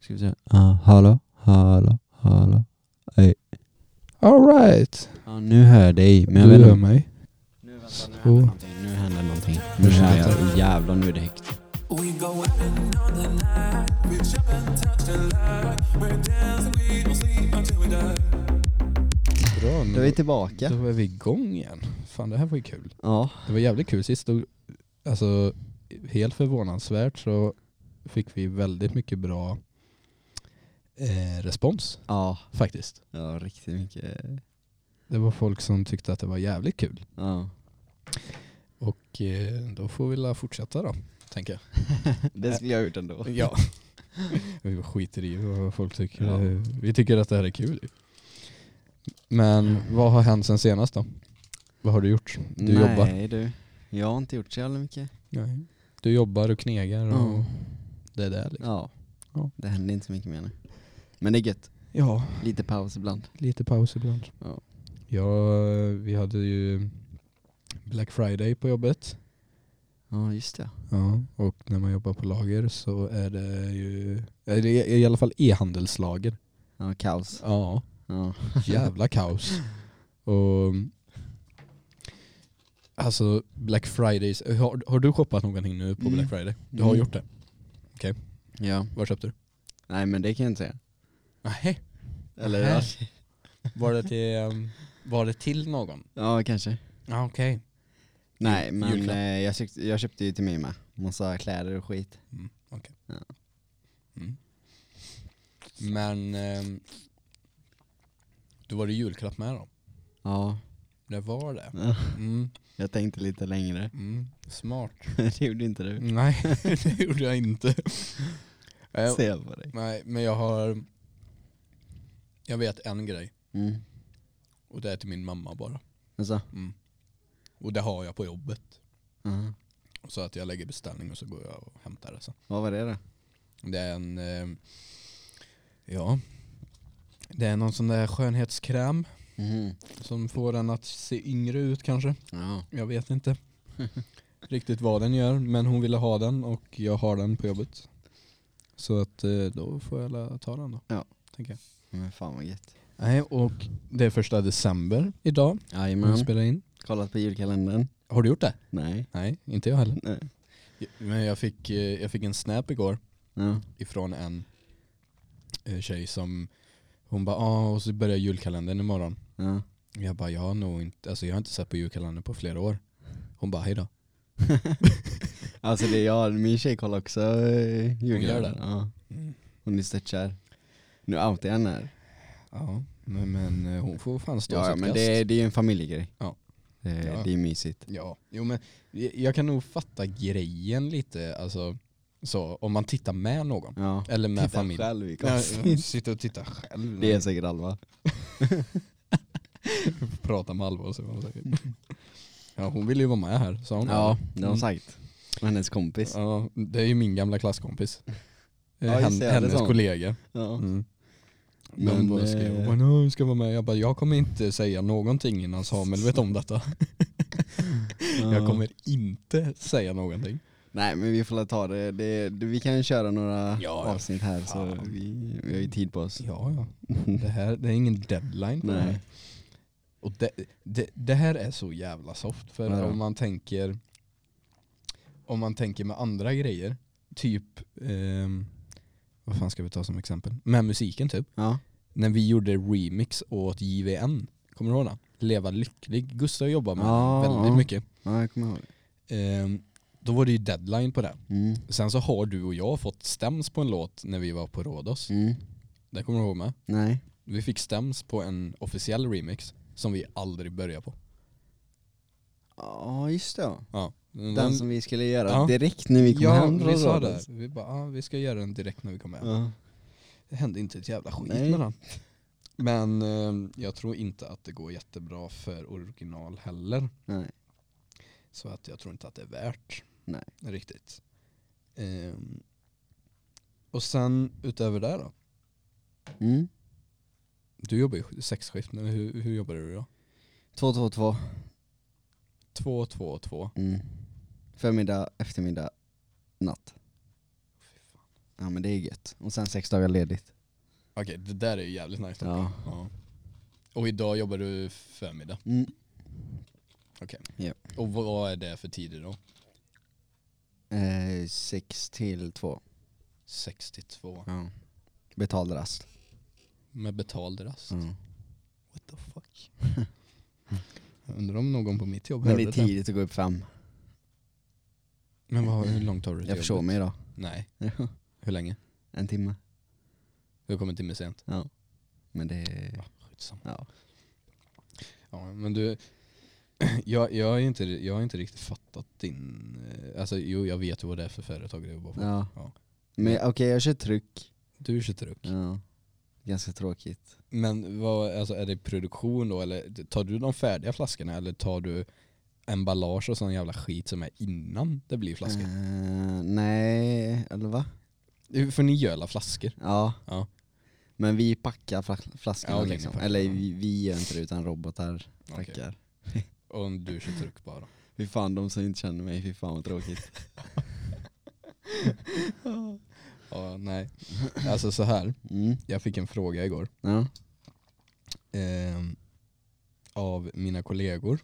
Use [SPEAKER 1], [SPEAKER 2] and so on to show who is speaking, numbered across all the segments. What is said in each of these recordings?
[SPEAKER 1] Ska vi se.
[SPEAKER 2] Ah,
[SPEAKER 1] Uh, hallå, hallå, hallå.
[SPEAKER 3] Alright.
[SPEAKER 1] Ja, nu hör jag dig. Men jag
[SPEAKER 3] Du
[SPEAKER 1] vet
[SPEAKER 3] hör
[SPEAKER 1] inte.
[SPEAKER 3] mig.
[SPEAKER 1] Nu vänta, nu
[SPEAKER 3] Så.
[SPEAKER 1] händer någonting. Nu händer någonting. Nu hör jag. Oh, jävlar, nu är det högt.
[SPEAKER 3] Bra.
[SPEAKER 2] Då är vi tillbaka.
[SPEAKER 3] Då är vi igång igen. Fan det här var ju kul.
[SPEAKER 2] Ja,
[SPEAKER 3] Det var jävligt kul sist. Då, alltså helt förvånansvärt så fick vi väldigt mycket bra eh, respons
[SPEAKER 2] ja,
[SPEAKER 3] faktiskt.
[SPEAKER 2] ja riktigt mycket.
[SPEAKER 3] Det var folk som tyckte att det var jävligt kul.
[SPEAKER 2] Ja.
[SPEAKER 3] Och eh, då får vi la fortsätta då, tänker jag.
[SPEAKER 2] Det skulle jag ha gjort ändå.
[SPEAKER 3] Ja. vi skiter i vad folk tycker.
[SPEAKER 2] Ja.
[SPEAKER 3] Vi tycker att det här är kul. ju. Men vad har hänt sen senast då? Vad har du gjort? Du
[SPEAKER 2] Nej,
[SPEAKER 3] jobbar.
[SPEAKER 2] du. Jag har inte gjort så jävla mycket.
[SPEAKER 3] Nej. Du jobbar och knegar och
[SPEAKER 2] Ja.
[SPEAKER 3] det där liksom.
[SPEAKER 2] Ja.
[SPEAKER 3] Ja.
[SPEAKER 2] Det händer inte så mycket mer nu. Men det är gött.
[SPEAKER 3] Ja,
[SPEAKER 2] Lite paus ibland.
[SPEAKER 3] lite paus ibland.
[SPEAKER 2] Ja.
[SPEAKER 3] Ja, vi hade ju Black Friday på jobbet.
[SPEAKER 2] Ja, just det.
[SPEAKER 3] Ja, och när man jobbar på lager så är det ju, eller det är i alla fall e-handelslager.
[SPEAKER 2] Ja, kaos.
[SPEAKER 3] Ja,
[SPEAKER 2] Ja.
[SPEAKER 3] jävla kaos. Och Alltså Black Fridays, har, har du shoppat någonting nu på
[SPEAKER 2] Mm.
[SPEAKER 3] Black Friday? Du har
[SPEAKER 2] Mm.
[SPEAKER 3] gjort det?
[SPEAKER 2] ja.
[SPEAKER 3] Vad köpte du?
[SPEAKER 2] Nej men det kan jag inte säga.
[SPEAKER 3] Nej.
[SPEAKER 2] Eller
[SPEAKER 3] Nej.
[SPEAKER 2] ja.
[SPEAKER 3] Var det till, ehm, var det till någon?
[SPEAKER 2] ja, kanske.
[SPEAKER 3] Ja okej.
[SPEAKER 2] Nej men
[SPEAKER 3] julklapp.
[SPEAKER 2] eh, jag, köpte, jag köpte ju till mig med. Massa kläder och skit.
[SPEAKER 3] Mm, okej.
[SPEAKER 2] Ja.
[SPEAKER 3] Mm. Men ehm, då var det julklapp med då?
[SPEAKER 2] Ja.
[SPEAKER 3] Det var det.
[SPEAKER 2] Ja.
[SPEAKER 3] Mm,
[SPEAKER 2] Jag tänkte lite längre.
[SPEAKER 3] mm, smart.
[SPEAKER 2] det gjorde inte du.
[SPEAKER 3] Nej, det gjorde jag inte. Eh,
[SPEAKER 2] Ser jag på dig.
[SPEAKER 3] Nej, men jag har... Jag vet en grej.
[SPEAKER 2] Mm.
[SPEAKER 3] Och det är till min mamma bara.
[SPEAKER 2] Alltså.
[SPEAKER 3] Mm. Och det har jag på jobbet.
[SPEAKER 2] Ja.
[SPEAKER 3] Och Så att jag lägger beställning och så går jag och hämtar det sen.
[SPEAKER 2] Vad var det då?
[SPEAKER 3] Det är en... Eh, ja. Det är någon sån där skönhetskräm Mm-hmm.
[SPEAKER 2] Mhm.
[SPEAKER 3] som får en att se yngre ut kanske.
[SPEAKER 2] Ja.
[SPEAKER 3] Jag vet inte riktigt vad den gör. Men hon ville ha den och jag har den på jobbet. Så att eh, då får jag la- ta den då.
[SPEAKER 2] Ja.
[SPEAKER 3] Tänker jag.
[SPEAKER 2] Men fan vad gött.
[SPEAKER 3] Nej, och det är första december idag. när vi
[SPEAKER 2] Jajamän.
[SPEAKER 3] spelar in.
[SPEAKER 2] Kollat på julkalendern?
[SPEAKER 3] Har du gjort det?
[SPEAKER 2] Nej.
[SPEAKER 3] Nej, inte jag heller.
[SPEAKER 2] Nej.
[SPEAKER 3] Men jag fick, eh, jag fick en snap igår
[SPEAKER 2] Ja.
[SPEAKER 3] ifrån en eh, tjej som hon bara ah, och så börjar julkalendern imorgon.
[SPEAKER 2] Ja.
[SPEAKER 3] Jag bara jag har nog inte, alltså jag har inte sett på julkalendern på flera år. Hon bara hejdå.
[SPEAKER 2] Alltså det är jag, min tjej kollar också eh, julkalendern.
[SPEAKER 3] det?
[SPEAKER 2] Ja.
[SPEAKER 3] Mm.
[SPEAKER 2] Hon är störtkär. Nu outar jag henne här.
[SPEAKER 3] Ja, men, men eh, hon får fan stå
[SPEAKER 2] Ja, ja
[SPEAKER 3] sitt
[SPEAKER 2] men
[SPEAKER 3] kast.
[SPEAKER 2] det, är- det är ju en familjegrej.
[SPEAKER 3] Ja.
[SPEAKER 2] Det, är-
[SPEAKER 3] Ja.
[SPEAKER 2] det är mysigt.
[SPEAKER 3] Ja, jo men jag jag kan nog fatta grejen lite, alltså så om man tittar med någon.
[SPEAKER 2] Ja.
[SPEAKER 3] Eller med
[SPEAKER 2] Titta
[SPEAKER 3] familj.
[SPEAKER 2] själv i
[SPEAKER 3] Ja,
[SPEAKER 2] kast.
[SPEAKER 3] ja, sitta och titta själv.
[SPEAKER 2] Det är säkert Alva.
[SPEAKER 3] Prata med Alva och så var hon säkert. Ja hon ville ju vara med här sa hon.
[SPEAKER 2] Ja, det har
[SPEAKER 3] Mm.
[SPEAKER 2] hon sagt. Och hennes kompis.
[SPEAKER 3] Ja, det är ju min gamla klasskompis. Eh,
[SPEAKER 2] Ja, just det,
[SPEAKER 3] Hen,
[SPEAKER 2] det
[SPEAKER 3] hennes
[SPEAKER 2] sa hon.
[SPEAKER 3] kollega. Mm.
[SPEAKER 2] Ja. Mm.
[SPEAKER 3] Men
[SPEAKER 2] Någon
[SPEAKER 3] hon
[SPEAKER 2] bara
[SPEAKER 3] bara
[SPEAKER 2] skrev,
[SPEAKER 3] skrev
[SPEAKER 2] eh,
[SPEAKER 3] hon bara, "Nå, du ska vara med. Jag bara, jag kommer inte säga någonting innan Samuel vet om detta. Jag kommer inte säga någonting.
[SPEAKER 2] Nej men vi får väl ta det. det, det vi kan köra några
[SPEAKER 3] Ja, ja.
[SPEAKER 2] avsnitt här så
[SPEAKER 3] Fan.
[SPEAKER 2] vi, vi har ju tid på oss.
[SPEAKER 3] Ja, ja. Det här det är ingen deadline på det här.
[SPEAKER 2] Nej.
[SPEAKER 3] Och det, det, det här är så jävla soft. För
[SPEAKER 2] Ja.
[SPEAKER 3] om man tänker om man tänker med andra grejer, typ ehm, vad fan ska vi ta som exempel? Med musiken typ.
[SPEAKER 2] Ja.
[SPEAKER 3] när vi gjorde remix åt JVN. Kommer du ihåg den? Leva lycklig. Gustav jobbar med
[SPEAKER 2] Ja,
[SPEAKER 3] den väldigt
[SPEAKER 2] ja.
[SPEAKER 3] mycket.
[SPEAKER 2] ja, jag kommer ihåg.
[SPEAKER 3] Ehm, då var det ju deadline på det.
[SPEAKER 2] Mm.
[SPEAKER 3] Sen så har du och jag fått stäms på en låt när vi var på Rhodos.
[SPEAKER 2] Mm.
[SPEAKER 3] Det kommer du ihåg med?
[SPEAKER 2] Nej.
[SPEAKER 3] Vi fick stäms på en officiell remix som vi aldrig började på.
[SPEAKER 2] Ja just det. ja.
[SPEAKER 3] Ja. Den,
[SPEAKER 2] Den som vi skulle göra
[SPEAKER 3] Ja.
[SPEAKER 2] direkt när vi kom
[SPEAKER 3] ja,
[SPEAKER 2] hem.
[SPEAKER 3] vi
[SPEAKER 2] från
[SPEAKER 3] sa det.
[SPEAKER 2] Rhodos.
[SPEAKER 3] Vi bara, ah, vi ska göra den direkt när vi kommer hem.
[SPEAKER 2] Ja.
[SPEAKER 3] Det hände inte ett jävla skit
[SPEAKER 2] Nej.
[SPEAKER 3] med den. Men ehm, jag tror inte att det går jättebra för original heller.
[SPEAKER 2] Nej.
[SPEAKER 3] Så att jag tror inte att det är värt.
[SPEAKER 2] Nej.
[SPEAKER 3] Riktigt. Ehm, och sen utöver det då?
[SPEAKER 2] Mm.
[SPEAKER 3] Du jobbar ju sexskift nu. Hur, hur jobbar du då?
[SPEAKER 2] 222.
[SPEAKER 3] Två, två, två.
[SPEAKER 2] Mm. Förmiddag, eftermiddag, natt. Ja men det är gött. Och sen sex dagar ledigt.
[SPEAKER 3] Okej, det där är ju jävligt nice dock.
[SPEAKER 2] Ja.
[SPEAKER 3] Ja. Och idag jobbar du förmiddag.
[SPEAKER 2] Mm.
[SPEAKER 3] Okej.
[SPEAKER 2] Japp.
[SPEAKER 3] Och vad- vad är det för tider då?
[SPEAKER 2] Eh, sex till två.
[SPEAKER 3] 62.
[SPEAKER 2] Ja. Betald rast.
[SPEAKER 3] Med betald rast.
[SPEAKER 2] Mm.
[SPEAKER 3] What the fuck?
[SPEAKER 4] Jag undrar om någon på mitt jobb
[SPEAKER 2] Men det
[SPEAKER 4] hörde
[SPEAKER 2] är tidigt att gå upp fem.
[SPEAKER 3] Men vad, hur långt har du till
[SPEAKER 2] Jag försov
[SPEAKER 3] jobbet?
[SPEAKER 2] mig idag.
[SPEAKER 3] Nej,
[SPEAKER 2] Ja.
[SPEAKER 3] hur länge?
[SPEAKER 2] en timme.
[SPEAKER 3] Du har kommit en timme sent.
[SPEAKER 2] Men det är...
[SPEAKER 3] Skitsamma.
[SPEAKER 2] Ja.
[SPEAKER 3] Ja, men du, jag, jag, har ju inte, jag har inte riktigt fattat din... eh, Alltså jo, jag vet ju vad det är för företag du jobbar på.
[SPEAKER 2] ja.
[SPEAKER 3] Ja.
[SPEAKER 2] Men okej jag kör tryck.
[SPEAKER 3] Du kör truck.
[SPEAKER 2] Ja. Ganska tråkigt.
[SPEAKER 3] Men vad, alltså, är det produktion då eller tar du de färdiga flaskorna eller tar du emballage och sån jävla skit som är innan det blir flaskor?
[SPEAKER 2] Eh, nej, eller va?
[SPEAKER 3] För ni gör alla flaskor?
[SPEAKER 2] Ja.
[SPEAKER 3] Ja.
[SPEAKER 2] Men vi packar fla- flaskorna
[SPEAKER 3] Ja, okej,
[SPEAKER 2] liksom.
[SPEAKER 3] ni packar.
[SPEAKER 2] Eller vi, vi gör inte det utan robotar
[SPEAKER 3] Okej.
[SPEAKER 2] packar.
[SPEAKER 3] Och du kör truck bara?
[SPEAKER 2] Fy fan de som inte känner mig, fy fan vad tråkigt.
[SPEAKER 3] Ja, nej. Alltså så här.
[SPEAKER 2] Mm.
[SPEAKER 3] jag fick en fråga igår
[SPEAKER 2] Ja.
[SPEAKER 3] ehm, av mina kollegor.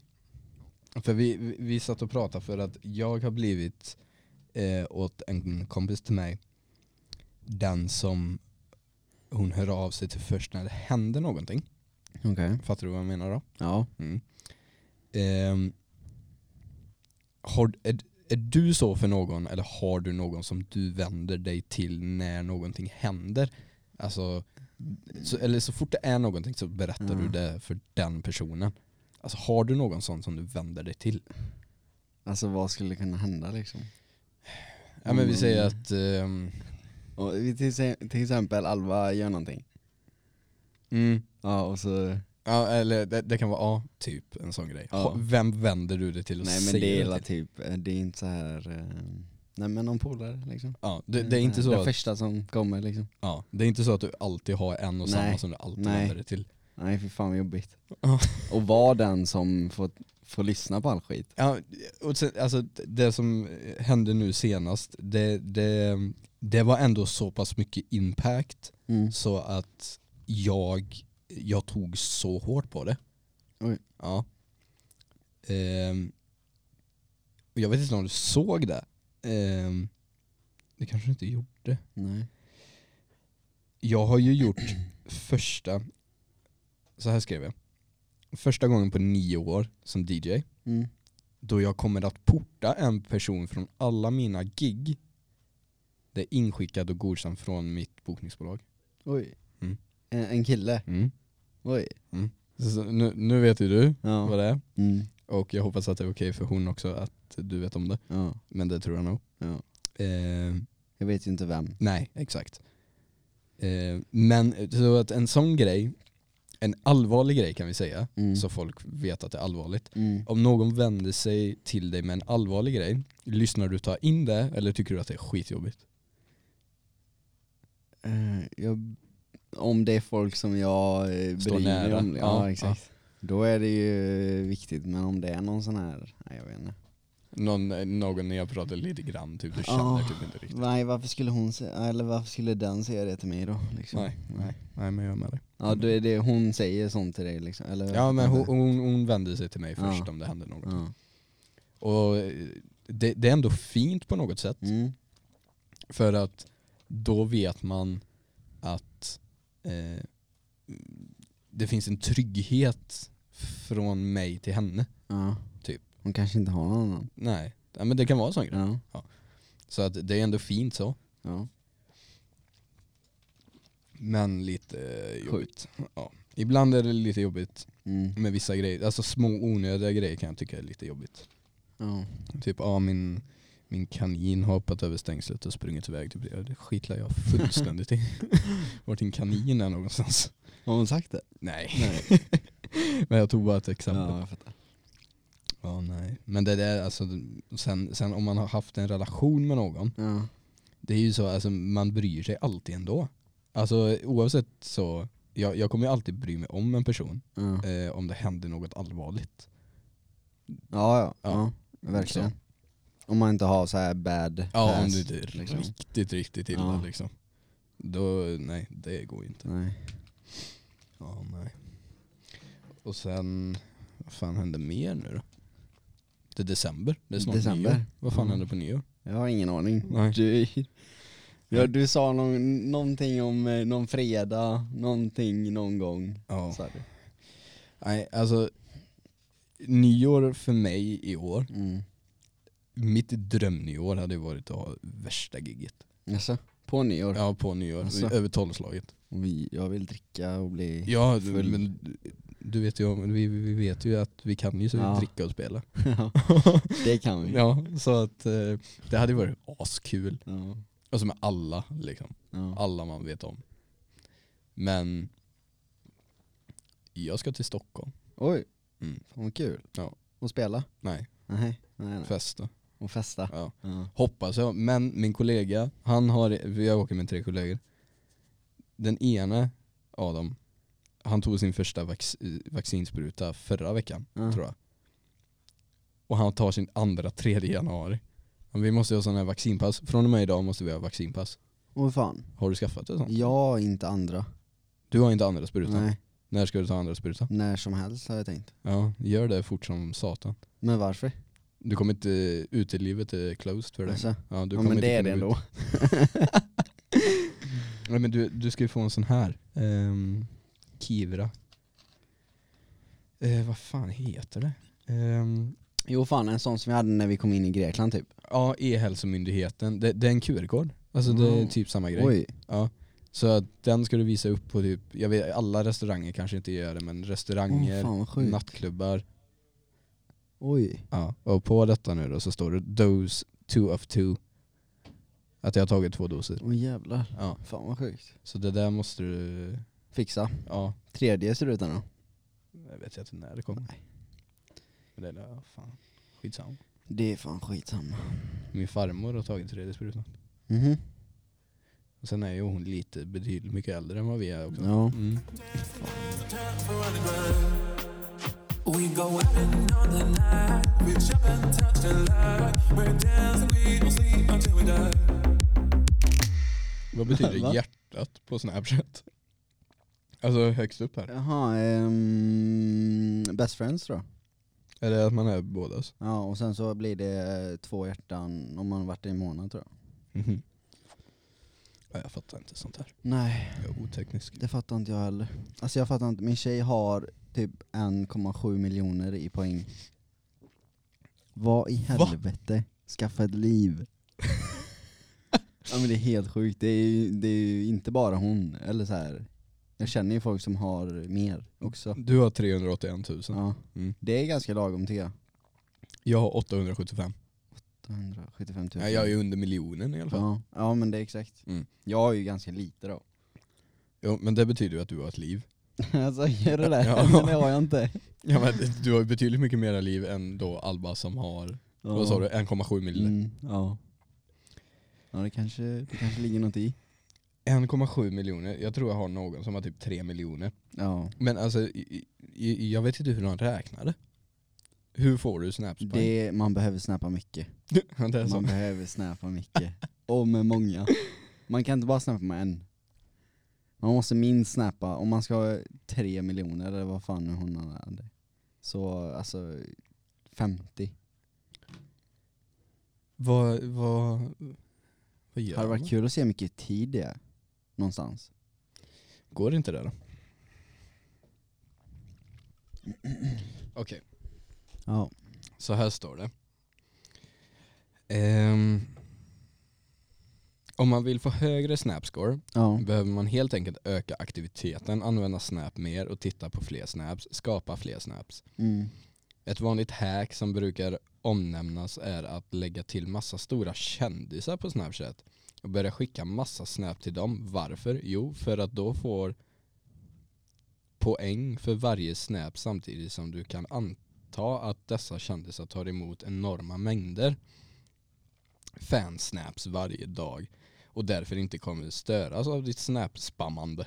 [SPEAKER 3] För vi, vi- vi satt och pratade för att jag har blivit eh, åt en kompis till mig den som hon hör av sig till först när det händer någonting.
[SPEAKER 2] Okej.
[SPEAKER 3] Fattar du vad jag menar då?
[SPEAKER 2] Ja.
[SPEAKER 3] Ehm, har, är, är du så för någon eller har du någon som du vänder dig till när någonting händer? Alltså, så, eller så fort det är någonting så berättar
[SPEAKER 2] Ja.
[SPEAKER 3] du det för den personen. Alltså har du någon sån som du vänder dig till?
[SPEAKER 2] Alltså vad skulle kunna hända liksom?
[SPEAKER 3] Ja men vi säger
[SPEAKER 2] Mm.
[SPEAKER 3] att ehm,
[SPEAKER 2] Och vi till, se- till exempel Alva gör någonting.
[SPEAKER 3] mm,
[SPEAKER 2] Ja och så,
[SPEAKER 3] ja, eller det, det kan vara ja, typ en sån grej.
[SPEAKER 2] Ja.
[SPEAKER 3] Ha- Vem vänder du dig till och
[SPEAKER 2] nej men
[SPEAKER 3] säger
[SPEAKER 2] det är
[SPEAKER 3] det
[SPEAKER 2] hela
[SPEAKER 3] till?
[SPEAKER 2] typ, eh, det är inte så här eh, nej men någon polare liksom.
[SPEAKER 3] Ja, det, det är inte så
[SPEAKER 2] Det
[SPEAKER 3] att,
[SPEAKER 2] första som kommer liksom.
[SPEAKER 3] ja, det är inte så att du alltid har en
[SPEAKER 2] Nej.
[SPEAKER 3] och samma som du alltid
[SPEAKER 2] Nej.
[SPEAKER 3] vänder dig till.
[SPEAKER 2] Nej fy fan vad jobbigt.
[SPEAKER 3] Ja.
[SPEAKER 2] Och var den som får, får lyssna på all skit.
[SPEAKER 3] Ja, och sen, alltså, det som hände nu senast, det, det, det var ändå så pass mycket impact
[SPEAKER 2] Mm.
[SPEAKER 3] så att jag, jag tog så hårt på det.
[SPEAKER 2] Oj.
[SPEAKER 3] Ja. Ehm, och jag vet inte om du såg det. Ehm, det kanske du inte gjorde.
[SPEAKER 2] Nej.
[SPEAKER 3] Jag har ju gjort första, så här skrev jag. Första gången på nio år som DJ
[SPEAKER 2] Mm.
[SPEAKER 3] då jag kommer att porta en person från alla mina gig. Det är inskickad och godkänd från mitt bokningsbolag.
[SPEAKER 2] Oj.
[SPEAKER 3] Mm.
[SPEAKER 2] En, en kille. Oj.
[SPEAKER 3] Så, så nu, nu vet ju du
[SPEAKER 2] Ja.
[SPEAKER 3] vad det är
[SPEAKER 2] Mm.
[SPEAKER 3] och jag hoppas att det är okej för hon också att du vet om det.
[SPEAKER 2] ja.
[SPEAKER 3] Men det tror jag nog.
[SPEAKER 2] Ja.
[SPEAKER 3] Eh,
[SPEAKER 2] Jag vet ju inte vem.
[SPEAKER 3] nej, exakt. Eh, men så att en sån grej, en allvarlig grej kan vi säga,
[SPEAKER 2] Mm.
[SPEAKER 3] så folk vet att det är allvarligt.
[SPEAKER 2] Mm.
[SPEAKER 3] Om någon vänder sig till dig med en allvarlig grej, lyssnar du ta in det eller tycker du att det är skitjobbigt?
[SPEAKER 2] Eh, jag, om det är folk som jag eh,
[SPEAKER 3] Står
[SPEAKER 2] bryr mig
[SPEAKER 3] nära.
[SPEAKER 2] om. Ja,
[SPEAKER 3] Ja,
[SPEAKER 2] exakt. Då är det ju eh, viktigt, men om det är någon sån här, nej jag vet inte.
[SPEAKER 3] Någon, någon ni har pratat lite grann, typ du känner
[SPEAKER 2] Ja.
[SPEAKER 3] typ inte riktigt.
[SPEAKER 2] Nej varför skulle hon säga, eller varför skulle den säga det till mig då? Liksom?
[SPEAKER 3] Nej, nej, nej men jag är med dig.
[SPEAKER 2] Ja då är det hon säger sånt till dig liksom, eller?
[SPEAKER 3] Ja men hon, hon, hon vände sig till mig
[SPEAKER 2] Ja.
[SPEAKER 3] först om det hände något.
[SPEAKER 2] Ja.
[SPEAKER 3] Och eh, det, det är ändå fint på något sätt.
[SPEAKER 2] Mm.
[SPEAKER 3] För att då vet man att eh, det finns en trygghet från mig till henne.
[SPEAKER 2] ja.
[SPEAKER 3] Typ.
[SPEAKER 2] Hon kanske inte har någon annan.
[SPEAKER 3] Nej, ja, men det kan vara en sån grej.
[SPEAKER 2] Ja.
[SPEAKER 3] Så att det är ändå fint så.
[SPEAKER 2] ja.
[SPEAKER 3] Men lite eh, jobbigt. Ja. Ibland är det lite jobbigt
[SPEAKER 2] Mm.
[SPEAKER 3] med vissa grejer. Alltså små onödiga grejer kan jag tycka är lite jobbigt.
[SPEAKER 2] ja.
[SPEAKER 3] Typ, ja min, min kanin har hoppat över stängslet och sprungit iväg. Typ, ja, det skitlar jag fullständigt i. Vart din kanin är någonstans.
[SPEAKER 2] Har hon sagt det?
[SPEAKER 3] Nej.
[SPEAKER 2] Nej.
[SPEAKER 3] Men jag tog bara ett
[SPEAKER 2] ja,
[SPEAKER 3] exempel.
[SPEAKER 2] jag fattar.
[SPEAKER 3] Ja. nej. Men det där, alltså, sen, sen om man har haft en relation med någon,
[SPEAKER 2] Ja.
[SPEAKER 3] det är ju så, alltså, man bryr sig alltid ändå. Alltså oavsett så, jag, jag kommer ju alltid bry mig om en person
[SPEAKER 2] Ja.
[SPEAKER 3] eh, om det händer något allvarligt.
[SPEAKER 2] Ja, ja, ja.
[SPEAKER 3] Ja.
[SPEAKER 2] Verkligen.
[SPEAKER 3] Så.
[SPEAKER 2] Om man inte har så här bad
[SPEAKER 3] Ja, om
[SPEAKER 2] pass,
[SPEAKER 3] du inte är
[SPEAKER 2] liksom.
[SPEAKER 3] riktigt, riktigt illa
[SPEAKER 2] Ja.
[SPEAKER 3] liksom. Då, nej, det går ju inte.
[SPEAKER 2] Nej.
[SPEAKER 3] Ja, nej. Och sen, vad fan hände mer nu då? Det är december, det är snart
[SPEAKER 2] December.
[SPEAKER 3] nyår. Vad fan
[SPEAKER 2] Mm.
[SPEAKER 3] händer på nyår?
[SPEAKER 2] Jag har ingen aning.
[SPEAKER 3] Nej.
[SPEAKER 2] Du, ja, du sa någon, någonting om eh, någon fredag, någonting någon gång.
[SPEAKER 3] Ja.
[SPEAKER 2] sa du.
[SPEAKER 3] Nej, alltså nyår för mig i år,
[SPEAKER 2] Mm.
[SPEAKER 3] mitt drömnyår hade ju varit att ha värsta gigget.
[SPEAKER 2] Jaså? På nyår?
[SPEAKER 3] Ja, på nyår,
[SPEAKER 2] Alltså.
[SPEAKER 3] över tolvslaget.
[SPEAKER 2] Vi, jag vill dricka och bli...
[SPEAKER 3] Ja, du-
[SPEAKER 2] Full.
[SPEAKER 3] men du vet ju, om- vi, vi vet ju att vi kan ju så
[SPEAKER 2] Ja.
[SPEAKER 3] dricka och spela.
[SPEAKER 2] Ja, det kan vi.
[SPEAKER 3] Ja, så att eh, det hade varit askul.
[SPEAKER 2] Ja.
[SPEAKER 3] Alltså med alla liksom.
[SPEAKER 2] Ja.
[SPEAKER 3] Alla man vet om. Men jag ska till Stockholm.
[SPEAKER 2] Oj,
[SPEAKER 3] Mm.
[SPEAKER 2] fan vad kul.
[SPEAKER 3] Ja.
[SPEAKER 2] Och spela?
[SPEAKER 3] Nej,
[SPEAKER 2] Nej, nej, nej.
[SPEAKER 3] festa.
[SPEAKER 2] Och festa?
[SPEAKER 3] Ja.
[SPEAKER 2] Ja.
[SPEAKER 3] Hoppas jag. Men min kollega, han har, jag åker med tre kollegor. Den ene av dem, han tog sin första vax, vaccinspruta förra veckan
[SPEAKER 2] Ja.
[SPEAKER 3] tror jag. Och han tar sin andra tredje januari. Men vi måste ha sådana här vaccinpass. Från och med idag måste vi ha vaccinpass.
[SPEAKER 2] Åh fan.
[SPEAKER 3] Har du skaffat det sånt?
[SPEAKER 2] Jag är inte andra.
[SPEAKER 3] Du har inte andra sprutan?
[SPEAKER 2] Nej,
[SPEAKER 3] När ska du ta andra sprutan?
[SPEAKER 2] när som helst har jag tänkt.
[SPEAKER 3] Ja, gör det fort som satan.
[SPEAKER 2] Men varför?
[SPEAKER 3] Du kommer inte, eh, utelivet är closed för dig.
[SPEAKER 2] Alltså,
[SPEAKER 3] Ja, du
[SPEAKER 2] ja
[SPEAKER 3] kommer
[SPEAKER 2] men
[SPEAKER 3] inte
[SPEAKER 2] det är
[SPEAKER 3] kunna
[SPEAKER 2] det
[SPEAKER 3] gå ut.
[SPEAKER 2] ändå.
[SPEAKER 3] Nej, men du, du ska ju få en sån här. Um, Kivra. Eh, vad fan heter det? Ehm,
[SPEAKER 2] Jo fan, en sån som vi hade när vi kom in i Grekland typ.
[SPEAKER 3] ja, E-hälsomyndigheten. Det, det är en QR-kod. Alltså det är
[SPEAKER 2] Mm.
[SPEAKER 3] typ samma grej.
[SPEAKER 2] Oj.
[SPEAKER 3] Ja. Så att den ska du visa upp på typ, jag vet alla restauranger kanske inte gör det men
[SPEAKER 2] Åh
[SPEAKER 3] restauranger,
[SPEAKER 2] fan vad sjukt.
[SPEAKER 3] nattklubbar.
[SPEAKER 2] Oj.
[SPEAKER 3] Ja. Och på detta nu då så står det dose two of two. Att jag har tagit två doser.
[SPEAKER 2] Åh jävlar.
[SPEAKER 3] Ja.
[SPEAKER 2] Fan vad sjukt.
[SPEAKER 3] Så det där måste du,
[SPEAKER 2] Fixa.
[SPEAKER 3] ja.
[SPEAKER 2] Tredje strutan då.
[SPEAKER 3] Jag vet inte när det kommer. Men det är, ja, fan. Skitsamma.
[SPEAKER 2] Det är fan skitsamma.
[SPEAKER 3] Min farmor har tagit tredje sprutan.
[SPEAKER 2] Mhm.
[SPEAKER 3] Och sen är ju hon lite betydligt mycket äldre än vad vi är också.
[SPEAKER 2] Ja.
[SPEAKER 3] Mm.
[SPEAKER 5] We go out and on the night. We chop and touch the light. We're dancing, we don't sleep until we die.
[SPEAKER 3] Vad betyder
[SPEAKER 2] Va?
[SPEAKER 3] hjärtat på snapchat? Alltså högst upp här.
[SPEAKER 2] Jaha, ehm, best friends då?
[SPEAKER 3] Är det att man är bådas?
[SPEAKER 2] Ja och sen så blir det eh, två hjärtan om man har varit det i en månad tror jag.
[SPEAKER 3] Mhm. Ja, jag fattar inte sånt här.
[SPEAKER 2] Nej,
[SPEAKER 3] Jag är oteknisk.
[SPEAKER 2] det fattar inte jag heller. Alltså jag fattar inte, min tjej har typ 1,7 miljoner i poäng. Vad i
[SPEAKER 3] Va?
[SPEAKER 2] helvete? Skaffa ett liv. ja men det är helt sjukt, det är ju, det är ju inte bara hon, eller så här. Jag känner ju folk som har mer också.
[SPEAKER 3] Du har 381 000.
[SPEAKER 2] Ja.
[SPEAKER 3] Mm.
[SPEAKER 2] Det är ganska lagom tycker jag.
[SPEAKER 3] Jag har 875.
[SPEAKER 2] 175 000.
[SPEAKER 3] Ja, jag är ju under miljonen i alla fall.
[SPEAKER 2] Typ. Ja, ja men det är exakt.
[SPEAKER 3] Mm.
[SPEAKER 2] Jag är ju ganska lite då.
[SPEAKER 3] Jo, men det betyder ju att du har ett liv.
[SPEAKER 2] alltså gör det där,
[SPEAKER 3] Ja.
[SPEAKER 2] men det har jag inte.
[SPEAKER 3] Ja, men du har ju betydligt mycket mera liv än då Alba som har, vad sa du, 1,7 miljoner.
[SPEAKER 2] Mm, ja. Ja det kanske, det kanske ligger något i.
[SPEAKER 3] 1,7 miljoner, jag tror jag har någon som har typ 3 miljoner.
[SPEAKER 2] Ja.
[SPEAKER 3] Men alltså, i- i- jag vet inte hur de räknade. Hur får du snapspoäng?
[SPEAKER 2] Det, man behöver snappa mycket.
[SPEAKER 3] Ja, det är
[SPEAKER 2] Man
[SPEAKER 3] så.
[SPEAKER 2] behöver snappa mycket. Och med många. Man kan inte bara snappa med en. Man måste minst snappa, om man ska ha tre miljoner eller vad fan nu hon hade. Så alltså 50.
[SPEAKER 3] Vad, vad, vad gör
[SPEAKER 2] Hade
[SPEAKER 3] man?
[SPEAKER 2] varit kul att se hur mycket tid det är. Någonstans.
[SPEAKER 3] Går inte det då? Okej,
[SPEAKER 2] Ja.
[SPEAKER 3] så här står det. Ehm, om man vill få högre snapscore
[SPEAKER 2] Ja.
[SPEAKER 3] behöver man helt enkelt öka aktiviteten, använda snap mer och titta på fler snaps, skapa fler snaps.
[SPEAKER 2] Mm.
[SPEAKER 3] Ett vanligt hack som brukar omnämnas är att lägga till massa stora kändisar på Snapchat och börja skicka massa snap till dem. Varför? Jo, för att då får poäng för varje snap samtidigt som du kan anta att dessa kändisar tar emot enorma mängder fansnaps varje dag och därför inte kommer störas av ditt snap-spammande.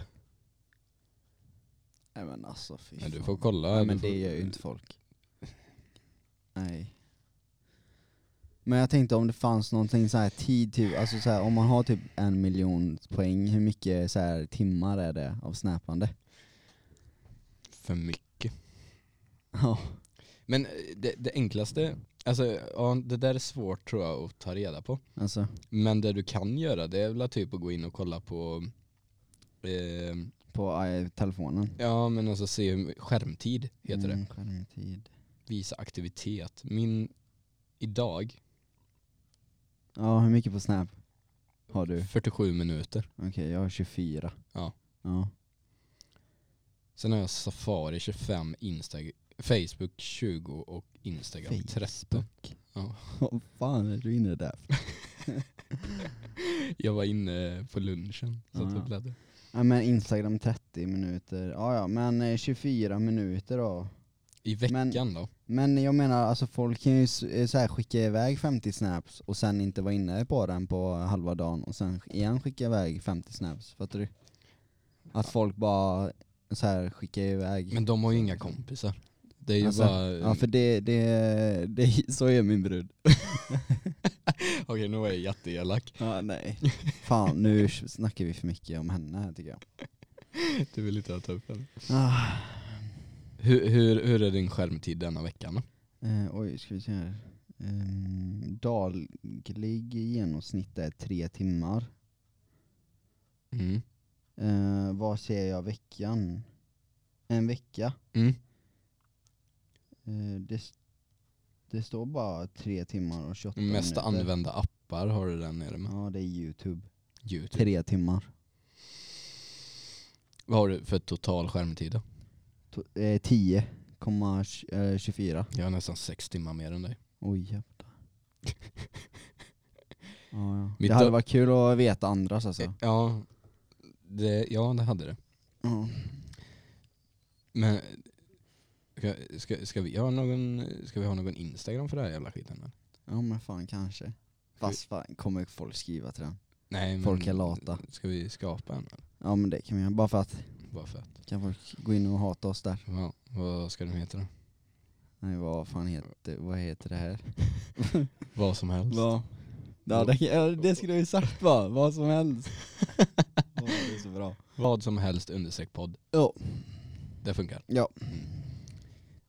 [SPEAKER 2] Nej men alltså fy
[SPEAKER 3] Men du
[SPEAKER 2] fan.
[SPEAKER 3] får kolla.
[SPEAKER 2] Nej men
[SPEAKER 3] du får-
[SPEAKER 2] det gör ju inte folk. Nej. Men jag tänkte om det fanns någonting så här tid, typ, alltså så här, om man har typ en miljon poäng, hur mycket så här, timmar är det av snäpande?
[SPEAKER 3] För mycket.
[SPEAKER 2] Ja.
[SPEAKER 3] Men eh, det, det enklaste, alltså ja, det där är svårt tror jag att ta reda på.
[SPEAKER 2] Alltså,
[SPEAKER 3] Men det du kan göra det är väl att typ att gå in och kolla på eh,
[SPEAKER 2] på eh, telefonen.
[SPEAKER 3] Ja men alltså se hur- skärmtid heter det.
[SPEAKER 2] Mm, skärmtid.
[SPEAKER 3] Visa aktivitet. Min idag,
[SPEAKER 2] Ja, hur mycket på snap har du?
[SPEAKER 3] 47 minuter.
[SPEAKER 2] Okej, jag har 24.
[SPEAKER 3] Ja.
[SPEAKER 2] Ja.
[SPEAKER 3] Sen har jag Safari 25, Instagram, Facebook 20 och Instagram 13.
[SPEAKER 2] Facebook.
[SPEAKER 3] Ja.
[SPEAKER 2] Vad fan är du inne där?
[SPEAKER 3] Jag var inne på lunchen. Så
[SPEAKER 2] Ah,
[SPEAKER 3] att
[SPEAKER 2] ja.
[SPEAKER 3] jag bläddrade.
[SPEAKER 2] Ja men Instagram 30 minuter, ja ja men eh, 24 minuter då.
[SPEAKER 3] I
[SPEAKER 2] Men-
[SPEAKER 3] veckan då?
[SPEAKER 2] Men jag menar alltså folk kan ju s- eh, så här, skicka iväg 50 snaps och sen inte vara inne på den på halva dagen och sen sk- igen skicka iväg 50 snaps, fattar du? Att folk bara så här skickar iväg.
[SPEAKER 3] Men de har ju inga kompisar. Det är ju
[SPEAKER 2] Alltså,
[SPEAKER 3] bara...
[SPEAKER 2] ja för det, det, det, så är min brud.
[SPEAKER 3] Okej nu var jag jätteelak.
[SPEAKER 2] Ja nej. Fan nu snackar vi för mycket om henne här tycker jag.
[SPEAKER 3] Du vill inte ta upp den.
[SPEAKER 2] Ah,
[SPEAKER 3] Hur, hur, hur är din skärmtid denna veckan då?
[SPEAKER 2] eh, oj ska vi se här. Ehm, daglig i genomsnitt är tre timmar.
[SPEAKER 3] Mm.
[SPEAKER 2] Eh, vad ser jag veckan? En vecka?
[SPEAKER 3] Mm.
[SPEAKER 2] Eh, det, s- det står bara tre timmar och 28
[SPEAKER 3] Mest
[SPEAKER 2] minuter.
[SPEAKER 3] använda appar har du där nere med.
[SPEAKER 2] Ja det är youtube. typ.
[SPEAKER 3] Youtube.
[SPEAKER 2] Tre timmar.
[SPEAKER 3] Vad har du för total skärmtid då?
[SPEAKER 2] To- eh, 10,24.
[SPEAKER 3] Jag har nästan sex timmar mer än dig.
[SPEAKER 2] eh, Oj jävlar. ja, ja.
[SPEAKER 3] Mitt Eh.
[SPEAKER 2] Det hade
[SPEAKER 3] då-
[SPEAKER 2] varit kul att veta andras alltså.
[SPEAKER 3] Ja, det, ja, det hade det.
[SPEAKER 2] Ja.
[SPEAKER 3] Men ska, ska, ska, vi, ha någon, ska vi ha någon Instagram för det här jävla skiten? eller?
[SPEAKER 2] ja men fan kanske. Fast fan kommer folk skriva till den.
[SPEAKER 3] Nej, men,
[SPEAKER 2] Folk är lata.
[SPEAKER 3] Ska vi skapa en? eller?
[SPEAKER 2] Ja men det kan vi göra. Bara för att
[SPEAKER 3] Bara för att.
[SPEAKER 2] kan folk gå in och hata oss där.
[SPEAKER 3] Ja, vad ska den heta då?
[SPEAKER 2] Nej vad fan heter, vad heter det här?
[SPEAKER 3] Vad som helst.
[SPEAKER 2] Va? Ja, det, ja, det skulle jag ju sagt va, vad som helst. Åh, det är så bra.
[SPEAKER 3] Vad som helst understreck podd.
[SPEAKER 2] Ja.
[SPEAKER 3] Det funkar.
[SPEAKER 2] Ja.
[SPEAKER 3] Mm.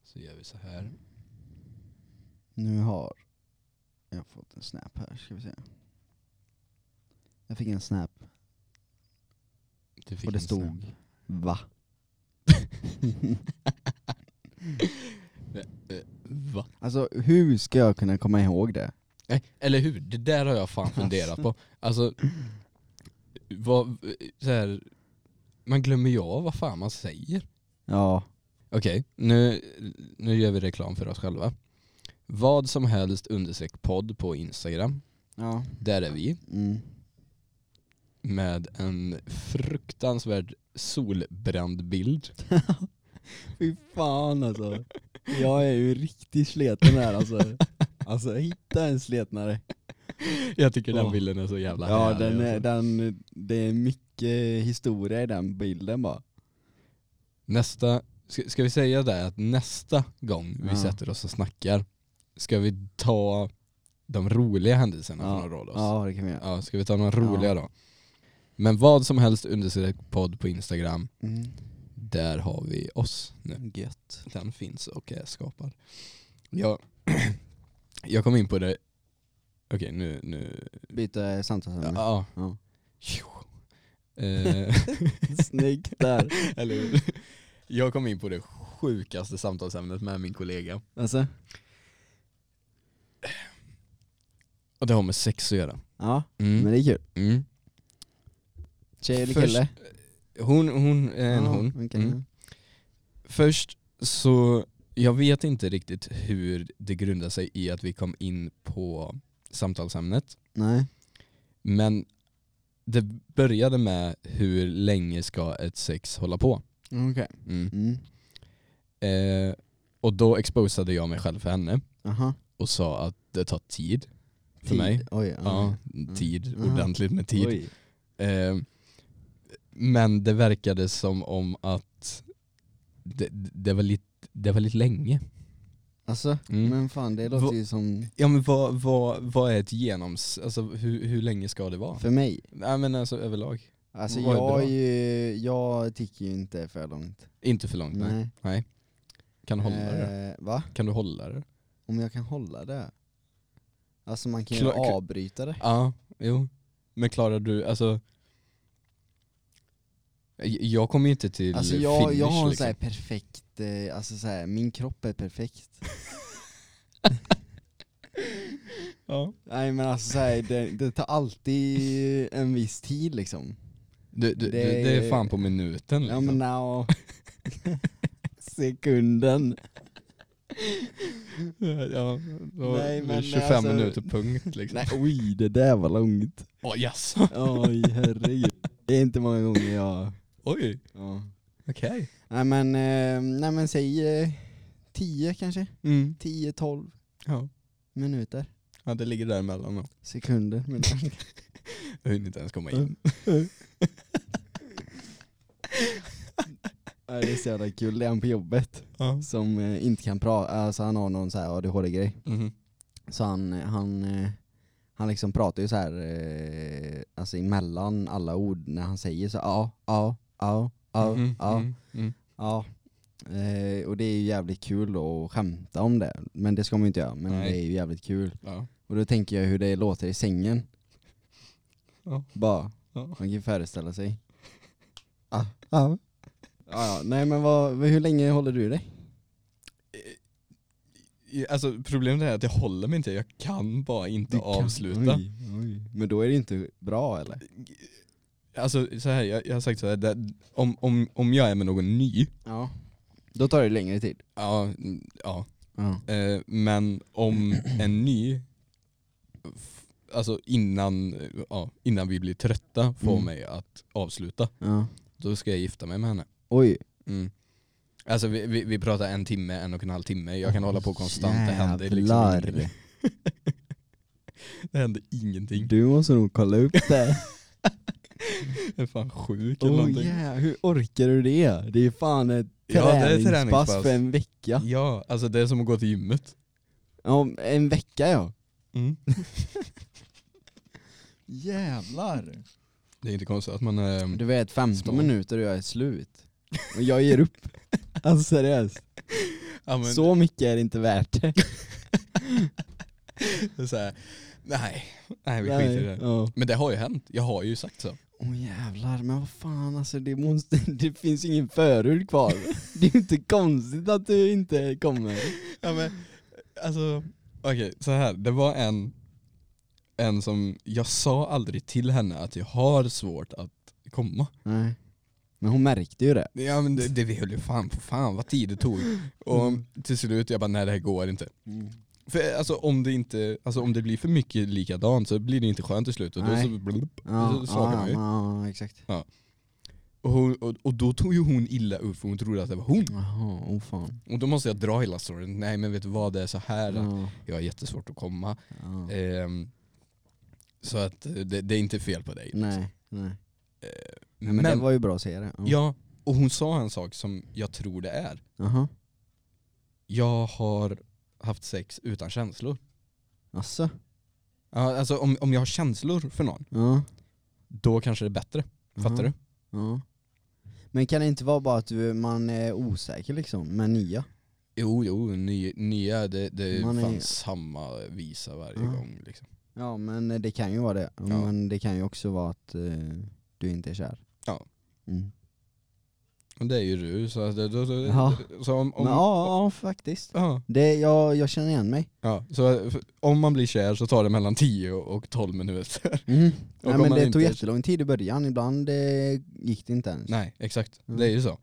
[SPEAKER 3] Så gör vi så här.
[SPEAKER 2] Nu har jag fått en snap här, ska vi se. Jag fick en snap
[SPEAKER 3] Du fick
[SPEAKER 2] och det
[SPEAKER 3] en snap.
[SPEAKER 2] stod va?
[SPEAKER 3] Va?
[SPEAKER 2] Alltså hur ska jag kunna komma ihåg det?
[SPEAKER 3] Nej, eller hur? Det där har jag fan funderat på. Alltså, vad, så här, man glömmer ju av vad fan man säger.
[SPEAKER 2] Ja,
[SPEAKER 3] Okej, nu, nu gör vi reklam för oss själva. Vad som helst understreck podd på Instagram.
[SPEAKER 2] ja,
[SPEAKER 3] Där är vi
[SPEAKER 2] mm.
[SPEAKER 3] med en fruktansvärd solbränd bild.
[SPEAKER 2] Fy fan alltså. Jag är ju riktigt sleten här alltså. Alltså hitta en sletnare.
[SPEAKER 3] Jag tycker den
[SPEAKER 2] Åh.
[SPEAKER 3] bilden är så jävla
[SPEAKER 2] Ja
[SPEAKER 3] härlig
[SPEAKER 2] den är,
[SPEAKER 3] alltså.
[SPEAKER 2] den, det är mycket historia i den bilden bara.
[SPEAKER 3] Nästa, ska, ska vi säga det att nästa gång vi
[SPEAKER 2] Ja.
[SPEAKER 3] sätter oss och snackar ska vi ta de roliga händelserna
[SPEAKER 2] Ja.
[SPEAKER 3] från Rhodos?
[SPEAKER 2] Ja det kan vi göra.
[SPEAKER 3] Ja, ska vi ta några roliga då? Men vad som helst understreck podd på Instagram,
[SPEAKER 2] Mm.
[SPEAKER 3] där har vi oss nu.
[SPEAKER 2] Gött.
[SPEAKER 3] Den finns och är skapad. Jag, jag kom in på det, okej nu, nu,
[SPEAKER 2] Byta samtalsämne. Ja.
[SPEAKER 3] ja.
[SPEAKER 2] Ja.
[SPEAKER 3] Tjo. Eh,
[SPEAKER 2] Snyggt där.
[SPEAKER 3] eller hur? Jag kom in på det sjukaste samtalsämnet med min kollega.
[SPEAKER 2] Alltså?
[SPEAKER 3] Och det har med sex att göra.
[SPEAKER 2] Ja, men
[SPEAKER 3] Mm.
[SPEAKER 2] det är kul.
[SPEAKER 3] Mm.
[SPEAKER 2] Tjej eller
[SPEAKER 3] Först-
[SPEAKER 2] kille?
[SPEAKER 3] Hon, hon är en
[SPEAKER 2] Ja,
[SPEAKER 3] hon.
[SPEAKER 2] okej.
[SPEAKER 3] Mm. Först så, jag vet inte riktigt hur det grundar sig i att vi kom in på samtalsämnet.
[SPEAKER 2] Nej.
[SPEAKER 3] Men det började med hur länge ska ett sex hålla på?
[SPEAKER 2] Okej.
[SPEAKER 3] Mm.
[SPEAKER 2] Mm.
[SPEAKER 3] Eh, och då exposade jag mig själv för henne
[SPEAKER 2] Aha.
[SPEAKER 3] och sa att det tar tid för
[SPEAKER 2] Tid.
[SPEAKER 3] mig.
[SPEAKER 2] Oj,
[SPEAKER 3] Ja, tid.
[SPEAKER 2] Aha.
[SPEAKER 3] Ordentligt med tid.
[SPEAKER 2] Mm. Oj.
[SPEAKER 3] Eh, men det verkade som om att det, det, var lite, det var lite länge.
[SPEAKER 2] Alltså,
[SPEAKER 3] Mm.
[SPEAKER 2] men fan det låter ju som,
[SPEAKER 3] Ja men vad, vad, vad är ett genoms... Alltså hur, hur länge ska det vara?
[SPEAKER 2] för mig,
[SPEAKER 3] Nej men alltså överlag.
[SPEAKER 2] alltså
[SPEAKER 3] Vad är
[SPEAKER 2] jag,
[SPEAKER 3] bra?
[SPEAKER 2] är ju, jag tycker ju inte för långt.
[SPEAKER 3] Inte för långt nej. Kan du hålla det?
[SPEAKER 2] Eh, va?
[SPEAKER 3] Kan du hålla det?
[SPEAKER 2] Om jag kan hålla det? Alltså man kan ju
[SPEAKER 3] Klar- kl-
[SPEAKER 2] avbryta det.
[SPEAKER 3] Ja, jo. Men klarar du, alltså... J- Jag kommer ju inte till
[SPEAKER 2] Alltså jag,
[SPEAKER 3] finish
[SPEAKER 2] jag har en
[SPEAKER 3] liksom.
[SPEAKER 2] så här perfekt, eh, alltså så här, min kropp är perfekt.
[SPEAKER 3] ja.
[SPEAKER 2] Nej men alltså så här, det, det tar alltid en viss tid liksom.
[SPEAKER 3] du, du, det,
[SPEAKER 2] Det
[SPEAKER 3] du, det är
[SPEAKER 2] är-
[SPEAKER 3] fan på minuten
[SPEAKER 2] Ja
[SPEAKER 3] liksom.
[SPEAKER 2] men now. Sekunden.
[SPEAKER 3] Eh, Ja, då
[SPEAKER 2] Nej, men
[SPEAKER 3] 25
[SPEAKER 2] alltså-
[SPEAKER 3] minuter punkt liksom.
[SPEAKER 2] Nej oj det där var långt.
[SPEAKER 3] Åh jaså?
[SPEAKER 2] Oj herregud. Det är inte många gånger jag...
[SPEAKER 3] Oj,
[SPEAKER 2] Ja.
[SPEAKER 3] okej.
[SPEAKER 2] Nej men, eh, nej men säg eh, 10 kanske?
[SPEAKER 3] Mm.
[SPEAKER 2] 10-12
[SPEAKER 3] Ja.
[SPEAKER 2] minuter.
[SPEAKER 3] ja, det ligger däremellan då.
[SPEAKER 2] Sekunder. Men...
[SPEAKER 3] Jag hinner inte ens komma
[SPEAKER 2] Mm.
[SPEAKER 3] in.
[SPEAKER 2] Ja, det är så jävla kul, det är han på jobbet
[SPEAKER 3] Ja.
[SPEAKER 2] som eh, inte kan prata, alltså han har någon så här ADHD-grej.
[SPEAKER 3] Mhm.
[SPEAKER 2] Så han, han, eh, han liksom pratar ju så här eh, alltså emellan alla ord när han säger så ja, ja, ja, ja,
[SPEAKER 3] Mhm,
[SPEAKER 2] ja,
[SPEAKER 3] mhm, mhm.
[SPEAKER 2] ja. Eh, Och det är ju jävligt kul att skämta om det, men det ska man ju inte göra, men
[SPEAKER 3] Nej.
[SPEAKER 2] det är ju jävligt kul.
[SPEAKER 3] Ja.
[SPEAKER 2] Och då tänker jag hur det låter i sängen.
[SPEAKER 3] Ja.
[SPEAKER 2] Bara,
[SPEAKER 3] Ja.
[SPEAKER 2] man kan ju föreställa sig. Ja, ja. Ja, ja. Nej men vad, hur länge håller du dig?
[SPEAKER 3] I- Alltså problemet är att jag håller mig inte, jag kan bara inte avsluta.
[SPEAKER 2] Oj, oj. Men då är det inte bra eller?
[SPEAKER 3] Alltså så här, jag, jag har sagt så här, det, om, om, om jag är med någon ny,
[SPEAKER 2] Ja. Då tar det längre tid.
[SPEAKER 3] ja, mm, ja.
[SPEAKER 2] Ja.
[SPEAKER 3] Eh, men om en ny, f- alltså innan, eh, ja, innan vi blir trötta, får
[SPEAKER 2] Mm.
[SPEAKER 3] mig att avsluta,
[SPEAKER 2] ja.
[SPEAKER 3] då ska jag gifta mig med henne.
[SPEAKER 2] Oj.
[SPEAKER 3] Mm. Alltså vi, vi, vi pratar en timme, en och en halv timme, jag kan hålla på konstant, det händer liksom
[SPEAKER 2] Jävlar.
[SPEAKER 3] ingenting. Det händer ingenting.
[SPEAKER 2] Du måste nog kolla upp det.
[SPEAKER 3] Jag är fan sjuk eller
[SPEAKER 2] oh,
[SPEAKER 3] någonting.
[SPEAKER 2] yeah. Hur orkar du det? Det är fan ett
[SPEAKER 3] Ja, det är
[SPEAKER 2] träningspass,
[SPEAKER 3] träningspass.
[SPEAKER 2] för en vecka.
[SPEAKER 3] Ja, alltså det är som att gå till gymmet.
[SPEAKER 2] Ja, en vecka ja.
[SPEAKER 3] Mm.
[SPEAKER 2] Jävlar.
[SPEAKER 3] Det är inte konstigt att man eh, är...
[SPEAKER 2] Du vet 15
[SPEAKER 3] Små.
[SPEAKER 2] minuter och jag är slut. Och jag ger upp. Alltså seriöst.
[SPEAKER 3] Ja, men,
[SPEAKER 2] Så mycket är det inte värt det.
[SPEAKER 3] det är så här, nej, nej vi skiter i det.
[SPEAKER 2] Ja.
[SPEAKER 3] Men det har ju hänt, jag har ju sagt så.
[SPEAKER 2] Åh jävlar, men vad fan alltså det, måste, det finns ju ingen förord kvar. Det är ju inte konstigt att du inte kommer.
[SPEAKER 3] Ja, men, alltså, okej så här, det var en, en som, jag sa aldrig till henne att jag har svårt att komma.
[SPEAKER 2] Nej. Men hon märkte ju det.
[SPEAKER 3] Ja men det, det vi höll ju fan på, fan vad tid det tog. Och till slut, jag bara nej det här går inte. För alltså om det inte, alltså om det blir för mycket likadant så blir det inte skönt till slut och då
[SPEAKER 2] Nej.
[SPEAKER 3] så blup,
[SPEAKER 2] Ja,
[SPEAKER 3] Så svagar
[SPEAKER 2] ja,
[SPEAKER 3] man
[SPEAKER 2] ja,
[SPEAKER 3] ju.
[SPEAKER 2] ja, exakt.
[SPEAKER 3] och, hon, och, och då tog ju hon illa upp för hon trodde att det var hon.
[SPEAKER 2] Jaha, oh fan.
[SPEAKER 3] Och då måste jag dra hela storyn, nej men vet du vad det är så här att
[SPEAKER 2] Ja, Eh,
[SPEAKER 3] jag har jättesvårt att komma.
[SPEAKER 2] ja.
[SPEAKER 3] Ehm, så att eh, det, det är inte fel på dig.
[SPEAKER 2] Nej, nej. Nej
[SPEAKER 3] Eh, men
[SPEAKER 2] men, det var ju bra att säga det.
[SPEAKER 3] ja, och hon sa en sak som jag tror det är.
[SPEAKER 2] Jaha.
[SPEAKER 3] Jag har haft sex utan känslor.
[SPEAKER 2] Asså?
[SPEAKER 3] Ja, Alltså om, om jag har känslor för någon,
[SPEAKER 2] Ja.
[SPEAKER 3] då kanske det är bättre.
[SPEAKER 2] Mhm.
[SPEAKER 3] Fattar du?
[SPEAKER 2] Ja. Men kan det inte vara bara att du, man är osäker liksom, med nya?
[SPEAKER 3] Jo, jo, ny- nya, det, det
[SPEAKER 2] Man är-
[SPEAKER 3] fanns samma visa varje
[SPEAKER 2] Ja.
[SPEAKER 3] gång. Liksom.
[SPEAKER 2] Ja men det kan ju vara det. Men det kan ju också vara att eh, du inte är kär.
[SPEAKER 3] Ja.
[SPEAKER 2] Mm.
[SPEAKER 3] Och det är ju du, så, att det, då, då,
[SPEAKER 2] Ja.
[SPEAKER 3] så om, om,
[SPEAKER 2] Men, ja, ja faktiskt.
[SPEAKER 3] ja,
[SPEAKER 2] Det, jag, jag känner igen mig.
[SPEAKER 3] ja, så för- om man blir kär så tar det mellan 10 och 12 minuter. Och
[SPEAKER 2] Mm. Nej,
[SPEAKER 3] om
[SPEAKER 2] men
[SPEAKER 3] man
[SPEAKER 2] det
[SPEAKER 3] inte-
[SPEAKER 2] tog jättelång tid i början, ibland eh, gick det inte ens.
[SPEAKER 3] Nej, exakt.
[SPEAKER 2] Mm.
[SPEAKER 3] Det är ju så.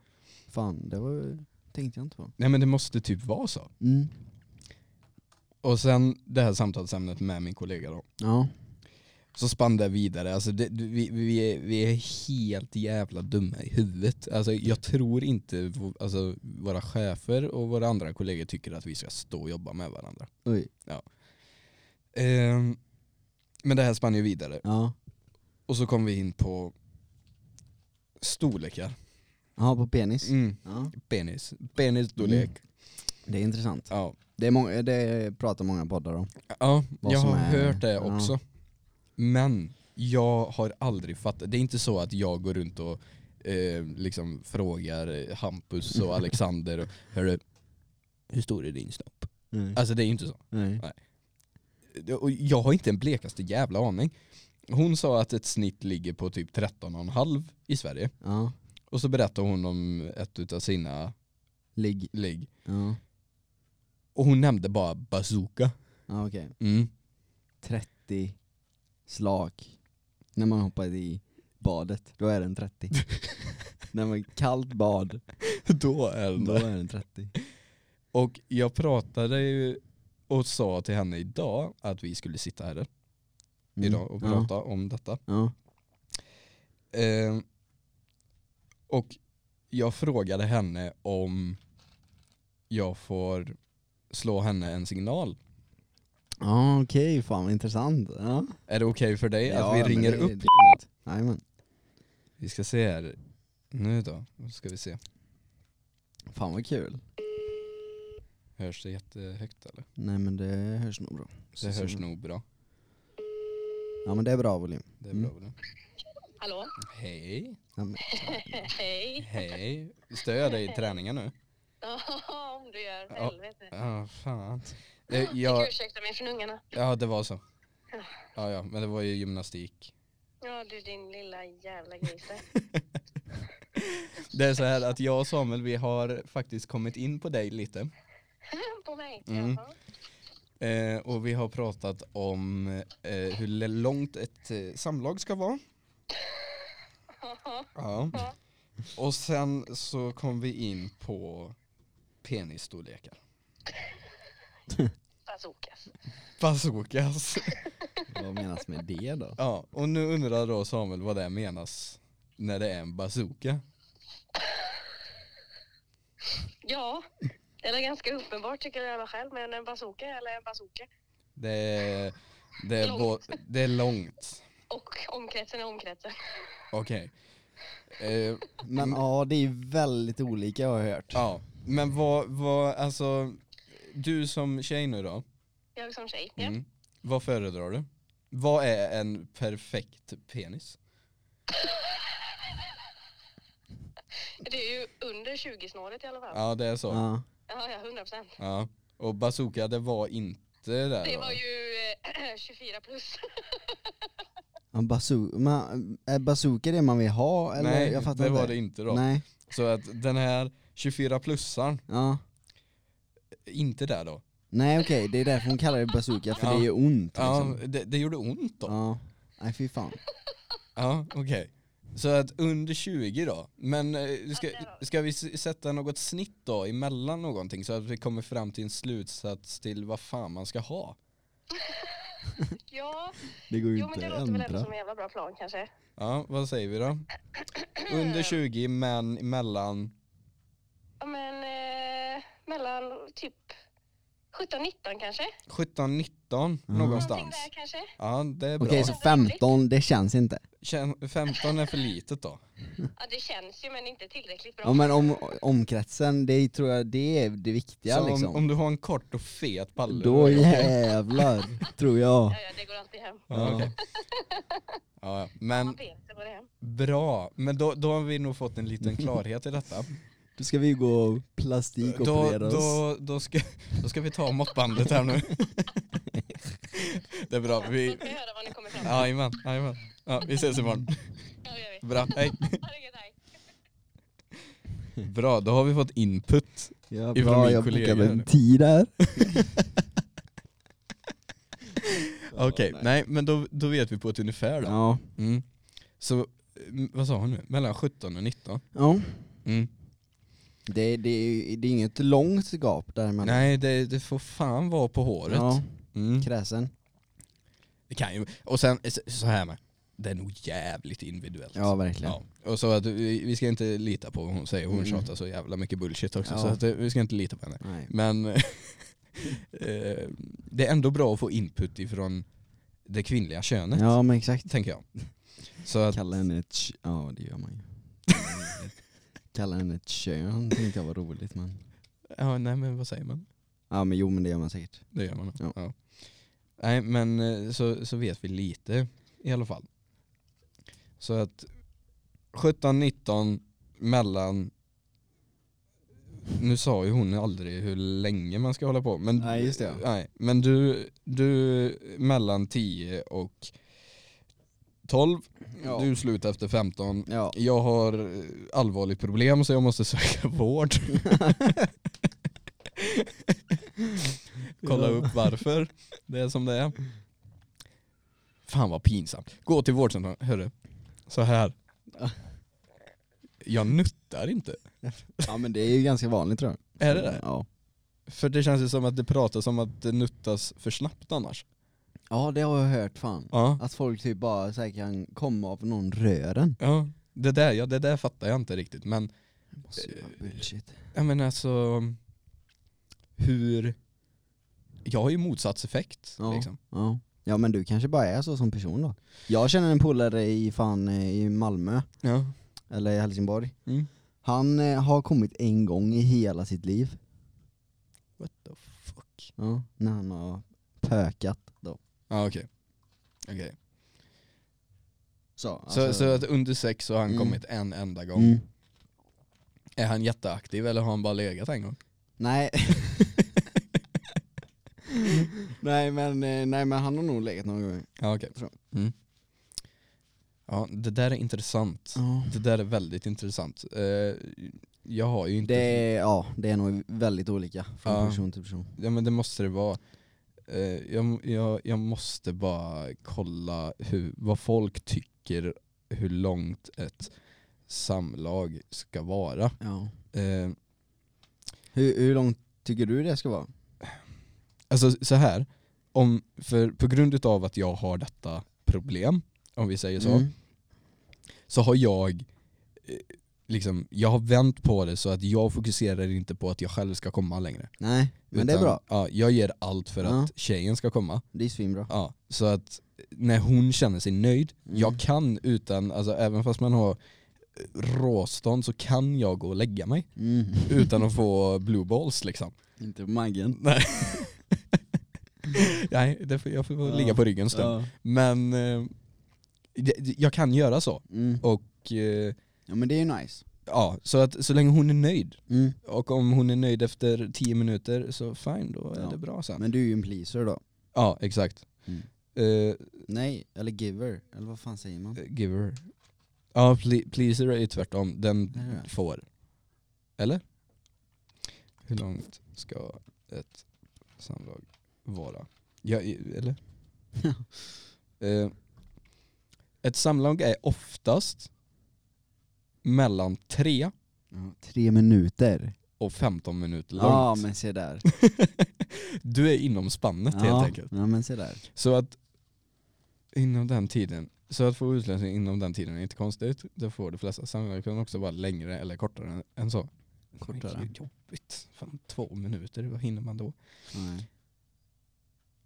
[SPEAKER 2] Fan, det var, tänkte jag inte på.
[SPEAKER 3] Nej men det måste typ vara så.
[SPEAKER 2] Mm.
[SPEAKER 3] Och sen det här samtalsämnet med min kollega då.
[SPEAKER 2] Ja.
[SPEAKER 3] Så spann det vidare, alltså det, vi, vi, är, vi är helt jävla dumma i huvudet. Alltså jag tror inte v- alltså, våra chefer och våra andra kollegor tycker att vi ska stå och jobba med varandra.
[SPEAKER 2] Oj.
[SPEAKER 3] Ehm, men det här spann ju vidare.
[SPEAKER 2] Ja.
[SPEAKER 3] Och så kom vi in på storlekar.
[SPEAKER 2] Ja, på penis.
[SPEAKER 3] Mm.
[SPEAKER 2] Ja.
[SPEAKER 3] Penis. Penisstorlek.
[SPEAKER 2] Det är intressant.
[SPEAKER 3] Ja.
[SPEAKER 2] Det, är många, det pratar många poddar om.
[SPEAKER 3] Ja,
[SPEAKER 2] Vad
[SPEAKER 3] jag
[SPEAKER 2] som
[SPEAKER 3] har
[SPEAKER 2] är-
[SPEAKER 3] hört det
[SPEAKER 2] ja.
[SPEAKER 3] också. Men jag har aldrig fattat. Det är inte så att jag går runt och eh, liksom frågar eh, Hampus och Alexander och hörru, hur stor är din snopp?
[SPEAKER 2] Nej.
[SPEAKER 3] Alltså det är ju inte så.
[SPEAKER 2] Nej.
[SPEAKER 3] Och jag har inte en blekaste jävla aning. Hon sa att ett snitt ligger på typ 13,5 i Sverige.
[SPEAKER 2] Ja.
[SPEAKER 3] Och så berättade hon om ett utav sina
[SPEAKER 2] Ligg.
[SPEAKER 3] ligg.
[SPEAKER 2] Ja.
[SPEAKER 3] Och hon nämnde bara bazooka.
[SPEAKER 2] Ja okej.
[SPEAKER 3] Mm.
[SPEAKER 2] 30 slag när man hoppar i badet, då är den 30. när man kallt bad,
[SPEAKER 3] Då är
[SPEAKER 2] då
[SPEAKER 3] det.
[SPEAKER 2] är den 30.
[SPEAKER 3] Och jag pratade ju och sa till henne idag att vi skulle sitta här
[SPEAKER 2] Mm.
[SPEAKER 3] idag och prata om detta.
[SPEAKER 2] Ja.
[SPEAKER 3] Ehm, och jag frågade henne om jag får slå henne en signal.
[SPEAKER 2] Ja okej, fan vad intressant. Ja.
[SPEAKER 3] Är det okej för dig
[SPEAKER 2] Ja,
[SPEAKER 3] att vi
[SPEAKER 2] men
[SPEAKER 3] ringer
[SPEAKER 2] det-
[SPEAKER 3] upp?
[SPEAKER 2] det- Jajamän.
[SPEAKER 3] Vi ska se här. Nu då, nu ska vi se.
[SPEAKER 2] Fan vad kul.
[SPEAKER 3] Hörs det jättehögt eller?
[SPEAKER 2] Nej men det hörs nog bra.
[SPEAKER 3] Det
[SPEAKER 2] Så-
[SPEAKER 3] hörs nog bra.
[SPEAKER 2] Ja men det är bra volym.
[SPEAKER 3] Det är
[SPEAKER 2] Mm.
[SPEAKER 3] bra väl?
[SPEAKER 6] Hallå?
[SPEAKER 3] Hej,
[SPEAKER 2] Ja, men,
[SPEAKER 6] Hej.
[SPEAKER 3] hej. Stör jag dig i träningen nu?
[SPEAKER 6] Ja, om du gör. För
[SPEAKER 3] Ja.
[SPEAKER 6] helvete.
[SPEAKER 3] Ja, fan. Eh,
[SPEAKER 6] Jag
[SPEAKER 3] Jag,
[SPEAKER 6] fick ursäkta mig från ungarna.
[SPEAKER 3] ja, det var så. Ja, ja, men det var ju gymnastik.
[SPEAKER 6] Ja, du din lilla jävla gris där.
[SPEAKER 3] Det är så här att jag och Samuel, vi har faktiskt kommit in på dig lite.
[SPEAKER 6] På mig.
[SPEAKER 3] Mm.
[SPEAKER 6] Jaha.
[SPEAKER 3] Eh, och vi har pratat om eh, hur le- långt ett eh, samlag ska vara. Ja. Och sen så kom vi in på penisstorlekar.
[SPEAKER 6] Bazookas.
[SPEAKER 3] Bazookas.
[SPEAKER 2] vad menas med det då?
[SPEAKER 3] Ja, och nu undrar då Samuel vad det menas när det är en bazooka.
[SPEAKER 6] Ja, det är ganska uppenbart tycker jag själv. Men en bazooka eller en bazooka.
[SPEAKER 3] Det är, det är,
[SPEAKER 6] Långt.
[SPEAKER 3] bo, det är långt.
[SPEAKER 6] Och omkretsen är omkretsen.
[SPEAKER 3] Okej. Eh,
[SPEAKER 2] Men ja, det är ju väldigt olika har jag hört.
[SPEAKER 3] ja, men vad, vad, alltså, du som tjej nu då,
[SPEAKER 6] Jag som tjej. Ja.
[SPEAKER 3] mm, vad föredrar du? Vad är en perfekt penis?
[SPEAKER 6] Det är ju under 20-snåret i alla fall.
[SPEAKER 3] Ja, det är så.
[SPEAKER 2] Ja.
[SPEAKER 6] Ja, ja 100 procent.
[SPEAKER 3] Ja. Och bazooka, det var inte där
[SPEAKER 6] Det
[SPEAKER 3] då?
[SPEAKER 6] var ju eh, 24 plus.
[SPEAKER 2] Ja, bazoo- men, är bazooka det man vill ha eller?
[SPEAKER 3] Nej,
[SPEAKER 2] jag fattar
[SPEAKER 3] det
[SPEAKER 2] inte.
[SPEAKER 3] var det inte då.
[SPEAKER 2] Nej.
[SPEAKER 3] Så att den här 24-plussaren,
[SPEAKER 2] Ja.
[SPEAKER 3] inte där då.
[SPEAKER 2] Nej okej, det är därför hon kallar det bazooka, för
[SPEAKER 3] Ja.
[SPEAKER 2] det gör ont
[SPEAKER 3] Ja,
[SPEAKER 2] liksom.
[SPEAKER 3] det, det gjorde ont då.
[SPEAKER 2] Ja. Nej fy fan.
[SPEAKER 3] Ja, okej. Så att under 20 då. Men eh, ska,
[SPEAKER 6] Ja, där har vi.
[SPEAKER 3] ska vi s- sätta något snitt då emellan någonting så att vi kommer fram till en slutsats till vad fan man ska ha?
[SPEAKER 6] Ja,
[SPEAKER 2] Det går
[SPEAKER 6] jo men det låter väl ändå som en jävla bra plan kanske.
[SPEAKER 3] Ja, vad säger vi då? Under 20 men mellan,
[SPEAKER 6] Ja men eh, mellan typ 17-19 kanske?
[SPEAKER 3] 17, 19
[SPEAKER 6] Någonting
[SPEAKER 3] någonstans.
[SPEAKER 6] där kanske?
[SPEAKER 3] Ja, det är
[SPEAKER 2] Mm.
[SPEAKER 3] bra.
[SPEAKER 2] Okej så 15, det känns inte.
[SPEAKER 3] Kän- 15 är för litet då.
[SPEAKER 6] Ja det känns ju men inte tillräckligt bra.
[SPEAKER 2] Ja men om, omkretsen, det tror jag det är det viktiga
[SPEAKER 3] så om,
[SPEAKER 2] liksom.
[SPEAKER 3] om du har en kort och fet palle.
[SPEAKER 2] Då jävlar, tror jag.
[SPEAKER 6] Ja, ja det går alltid hem.
[SPEAKER 3] Ja, okej. ja, ja. men
[SPEAKER 6] Man vet det går det hem.
[SPEAKER 3] bra. Men då, då har vi nog fått en liten klarhet i detta.
[SPEAKER 2] Då ska vi gå och
[SPEAKER 3] Då,
[SPEAKER 2] plastikoperera oss.
[SPEAKER 3] då, då, ska, då ska vi ta måttbandet här nu. Det är bra. Vi,
[SPEAKER 6] Låt mig höra vad ni kommer fram till. Ja.
[SPEAKER 3] jajamän, jajamän. Ja, vi ses imorgon.
[SPEAKER 6] det gör vi.
[SPEAKER 3] Bra, hej.
[SPEAKER 6] Ha det gött, hej.
[SPEAKER 3] Bra, då har vi fått input.
[SPEAKER 2] Ja,
[SPEAKER 3] ifrån
[SPEAKER 2] bra,
[SPEAKER 3] min
[SPEAKER 2] jag
[SPEAKER 3] kollega
[SPEAKER 2] bokade
[SPEAKER 3] här.
[SPEAKER 2] en tid här.
[SPEAKER 3] Okej, nej. men då, då vet vi på ett ungefär då.
[SPEAKER 2] Ja.
[SPEAKER 3] Mm. Så, mm, vad sa hon nu? Mellan 17 och 19?
[SPEAKER 2] ja.
[SPEAKER 3] Mm.
[SPEAKER 2] Det, det, är- det är inget långt gap däremellan.
[SPEAKER 3] Nej, det, det får fan vara på håret.
[SPEAKER 2] Ja,
[SPEAKER 3] Mm.
[SPEAKER 2] kräsen.
[SPEAKER 3] Det kan ju, och sen så- så här med. Det är nog jävligt individuellt.
[SPEAKER 2] Ja verkligen.
[SPEAKER 3] Ja, och så att vi, vi ska inte lita på vad hon säger, hon
[SPEAKER 2] Mm.
[SPEAKER 3] tjatar så jävla mycket bullshit också
[SPEAKER 2] Ja.
[SPEAKER 3] så att eh, vi ska inte lita på henne.
[SPEAKER 2] Nej.
[SPEAKER 3] Men eh, det är ändå bra att få input ifrån det kvinnliga könet,
[SPEAKER 2] Ja men exakt.
[SPEAKER 3] tänker jag. Så att,
[SPEAKER 2] Kalla henne ett kö- ja det gör man ju. Kalla henne ett kön tänkte jag var roligt men.
[SPEAKER 3] ja nej men vad säger man?
[SPEAKER 2] Ja men jo men det gör man säkert.
[SPEAKER 3] Det gör man.
[SPEAKER 2] Ja.
[SPEAKER 3] Ja. Nej men eh, så, så vet vi lite i alla fall. Så att 17-19 mellan nu sa ju hon aldrig hur länge man ska hålla på. Men,
[SPEAKER 2] Nej, just det, ja.
[SPEAKER 3] Nej, men du, du mellan 10 och 12.
[SPEAKER 2] Ja.
[SPEAKER 3] Du slutar efter 15.
[SPEAKER 2] Ja.
[SPEAKER 3] Jag har eh, allvarligt problem så jag måste söka vård. Kolla upp varför det är som det är. Fan vad pinsamt. Gå till vårdcentralen. Hörru, så här. Jag nuttar inte.
[SPEAKER 2] Ja men det är ju ganska vanligt tror jag.
[SPEAKER 3] Är det det?
[SPEAKER 2] Ja.
[SPEAKER 3] För det känns ju som att det pratas om att det nuttas för snabbt annars.
[SPEAKER 2] Ja det har jag hört fan.
[SPEAKER 3] Ja.
[SPEAKER 2] Att folk typ bara så här kan komma av någon rören.
[SPEAKER 3] ja. Det där, ja, det där fattar jag inte riktigt men
[SPEAKER 2] Måste ju vara Alltså, bullshit.
[SPEAKER 3] Ja men alltså hur jag har ju motsatseffekt
[SPEAKER 2] Ja.
[SPEAKER 3] liksom.
[SPEAKER 2] Ja. ja men du kanske bara är så som person då. Jag känner en polare i fan eh, i Malmö,
[SPEAKER 3] Ja.
[SPEAKER 2] eller i Helsingborg.
[SPEAKER 3] Mm.
[SPEAKER 2] Han eh, har kommit en gång i hela sitt liv.
[SPEAKER 3] What the fuck.
[SPEAKER 2] Ja, när han har pökat då.
[SPEAKER 3] Ja okej. Okej.
[SPEAKER 2] Så, alltså-
[SPEAKER 3] Så, så att under sex så har han
[SPEAKER 2] Mm.
[SPEAKER 3] kommit en enda gång.
[SPEAKER 2] mm.
[SPEAKER 3] Är han jätteaktiv eller har han bara legat en gång?
[SPEAKER 2] Nej. nej, men, eh, nej men han har nog legat någon gång.
[SPEAKER 3] Ja okej.
[SPEAKER 2] Tror
[SPEAKER 3] Mm. Ja det där är intressant. Det där är väldigt intressant. Eh, jag har ju inte...
[SPEAKER 2] Det, är, ja, det är nog väldigt olika från
[SPEAKER 3] Ja.
[SPEAKER 2] person till person.
[SPEAKER 3] Ja men det måste det vara. Eh, jag, jag, jag måste bara kolla hur, vad folk tycker hur långt ett samlag ska vara.
[SPEAKER 2] Ja.
[SPEAKER 3] Eh,
[SPEAKER 2] Hur, hur långt tycker du det ska vara?
[SPEAKER 3] alltså så här, om, för på grund utav att jag har detta problem, om vi säger så,
[SPEAKER 2] Mm.
[SPEAKER 3] så har jag eh, Liksom, jag har vänt på det så att jag fokuserar inte på att jag själv ska komma längre.
[SPEAKER 2] Nej, men det är
[SPEAKER 3] Utan,
[SPEAKER 2] bra.
[SPEAKER 3] Ja, jag ger allt för
[SPEAKER 2] Ja.
[SPEAKER 3] att tjejen ska komma.
[SPEAKER 2] Det är svinbra.
[SPEAKER 3] Ja, så att när hon känner sig nöjd,
[SPEAKER 2] Mm.
[SPEAKER 3] jag kan utan, alltså även fast man har råstånd så kan jag gå och lägga mig
[SPEAKER 2] Mm.
[SPEAKER 3] utan att få blue balls liksom.
[SPEAKER 2] Inte på maggen.
[SPEAKER 3] Nej, Nej det får, jag får
[SPEAKER 2] Ja.
[SPEAKER 3] ligga på ryggen en stund.
[SPEAKER 2] Ja.
[SPEAKER 3] Men eh, det- det- jag kan göra så.
[SPEAKER 2] Mm.
[SPEAKER 3] Och eh,
[SPEAKER 2] ja men det är ju nice.
[SPEAKER 3] ja, så att så länge hon är nöjd,
[SPEAKER 2] Mm.
[SPEAKER 3] och om hon är nöjd efter 10 minuter så fine, då är
[SPEAKER 2] Ja.
[SPEAKER 3] det bra sen.
[SPEAKER 2] Men du är ju en pleaser då.
[SPEAKER 3] Ja, exakt.
[SPEAKER 2] Mm.
[SPEAKER 3] Eh,
[SPEAKER 2] Nej, eller giver. Eller vad fan säger man?
[SPEAKER 3] Eh, giver. Ja, ple- pleaser är ju tvärtom. Den
[SPEAKER 2] Är det?
[SPEAKER 3] får. Eller? Hur långt ska ett samlag vara? Ja, i- eller? eh, ett samlag är oftast mellan 3
[SPEAKER 2] Ja, tre minuter.
[SPEAKER 3] och 15 minuter långt.
[SPEAKER 2] Ja men se där.
[SPEAKER 3] Du är inom spannet helt
[SPEAKER 2] ja.
[SPEAKER 3] enkelt.
[SPEAKER 2] Ja men se där.
[SPEAKER 3] Så att inom den tiden, så att få utlösning inom den tiden är inte konstigt. Det får de flesta. Sannolikt kan också vara längre eller kortare än- än så.
[SPEAKER 2] Kortare.
[SPEAKER 3] Det är ju jobbigt. Fan, två minuter, vad hinner man då?
[SPEAKER 2] Nej.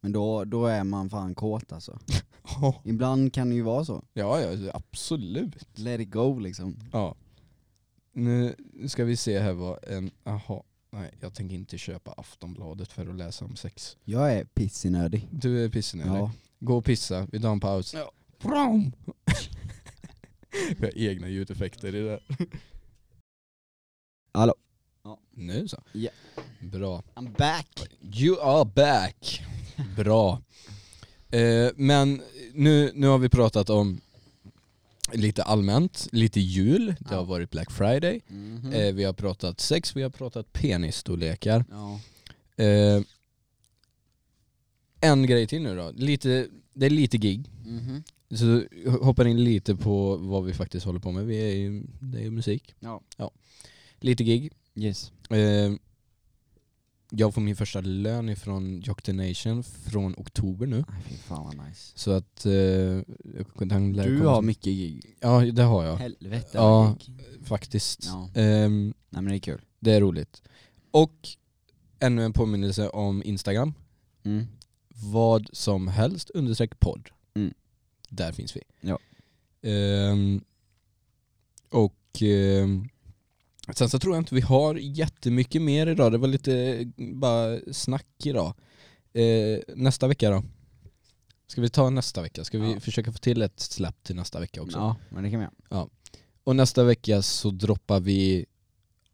[SPEAKER 2] Men då, då är man fan kåt alltså.
[SPEAKER 3] Ja,
[SPEAKER 2] Ibland kan det ju vara så.
[SPEAKER 3] ja, absolut.
[SPEAKER 2] Let it go liksom.
[SPEAKER 3] Ja. Nu ska vi se här vad en, aha. Nej, jag tänker inte köpa Aftonbladet för att läsa om sex.
[SPEAKER 2] Jag är pissinödig.
[SPEAKER 3] Du är pissnödig.
[SPEAKER 2] Ja.
[SPEAKER 3] Gå och pissa, vi tar en paus. Ja. Brom! Vi har egna ljudeffekter i det här.
[SPEAKER 2] Hallå.
[SPEAKER 3] Nu så.
[SPEAKER 2] Ja.
[SPEAKER 3] Bra.
[SPEAKER 2] I'm back!
[SPEAKER 3] You are back. Bra. Eh, men nu, nu har vi pratat om lite allmänt, lite jul, det
[SPEAKER 2] Ja.
[SPEAKER 3] har varit Black Friday,
[SPEAKER 2] Mhm.
[SPEAKER 3] eh, vi har pratat sex, vi har pratat penisstorlekar.
[SPEAKER 2] Ja.
[SPEAKER 3] Eh, en grej till nu då, lite, det är lite gig.
[SPEAKER 2] Mhm.
[SPEAKER 3] Så hoppar in lite på vad vi faktiskt håller på med. Vi är ju, det är ju musik.
[SPEAKER 2] Ja.
[SPEAKER 3] Lite gig.
[SPEAKER 2] Yes.
[SPEAKER 3] Eh, jag får min första lön ifrån Jock the Nation från oktober nu.
[SPEAKER 2] Ay, fy fan vad nice.
[SPEAKER 3] Så att... Eh, den lär
[SPEAKER 2] Du
[SPEAKER 3] komma-
[SPEAKER 2] har mycket gig.
[SPEAKER 3] Ja det har jag
[SPEAKER 2] Helvete
[SPEAKER 3] Ja.
[SPEAKER 2] vad gig.
[SPEAKER 3] faktiskt.
[SPEAKER 2] Ja.
[SPEAKER 3] Ehm,
[SPEAKER 2] Nej men det är kul.
[SPEAKER 3] det är roligt. Och ännu en påminnelse om Instagram.
[SPEAKER 2] Mm.
[SPEAKER 3] Vad som helst understreck podd.
[SPEAKER 2] Mm.
[SPEAKER 3] Där finns vi.
[SPEAKER 2] Ja.
[SPEAKER 3] Ehm, och ehm, Sen så tror jag inte vi har jättemycket mer idag. Det var lite eh, bara snack idag. Eh, nästa vecka då? Ska vi ta nästa vecka? Ska vi
[SPEAKER 2] Ja.
[SPEAKER 3] försöka få till ett släpp till nästa vecka också?
[SPEAKER 2] Ja, men det kan vi göra.
[SPEAKER 3] Och nästa vecka så droppar vi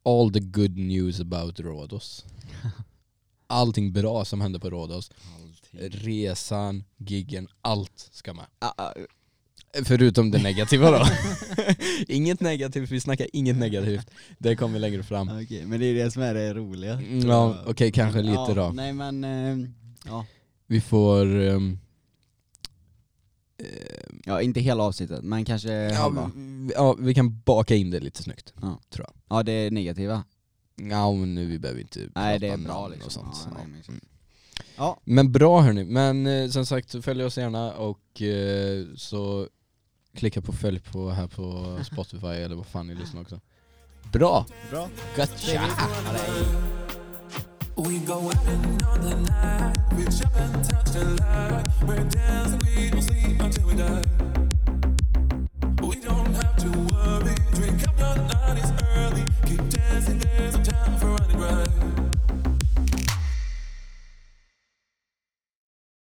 [SPEAKER 3] all the good news about Rhodos. Allting bra som hände på Rhodos. Resan, giggen, allt ska med. Förutom det negativa då. inget negativt, vi snackar inget negativt. Det kommer längre fram.
[SPEAKER 2] Okej, men det är det som är det roliga.
[SPEAKER 3] Mm, Ja, okej kanske lite
[SPEAKER 2] ja,
[SPEAKER 3] då.
[SPEAKER 2] Nej men, eh, ja.
[SPEAKER 3] Vi får... ehm,
[SPEAKER 2] ja inte hela avsnittet men kanske
[SPEAKER 3] eh, ja,
[SPEAKER 2] halva.
[SPEAKER 3] vi, ja, vi kan baka in det lite snyggt.
[SPEAKER 2] Ja det är negativa.
[SPEAKER 3] Ja, men nu vi behöver inte
[SPEAKER 2] Nej
[SPEAKER 3] prata
[SPEAKER 2] det är bra
[SPEAKER 3] namn
[SPEAKER 2] liksom.
[SPEAKER 3] och sånt.
[SPEAKER 2] Ja,
[SPEAKER 3] Ja.
[SPEAKER 2] nej, men exakt. ja.
[SPEAKER 3] Men bra hörni, men eh, som sagt följ oss gärna och eh, så klicka på följ på här på Spotify eller vad fan ni lyssnar också. Bra!
[SPEAKER 2] Bra.
[SPEAKER 3] Gotcha!
[SPEAKER 5] We go out and on the night. We jump and touch the light. We're dancing, we don't sleep until we die.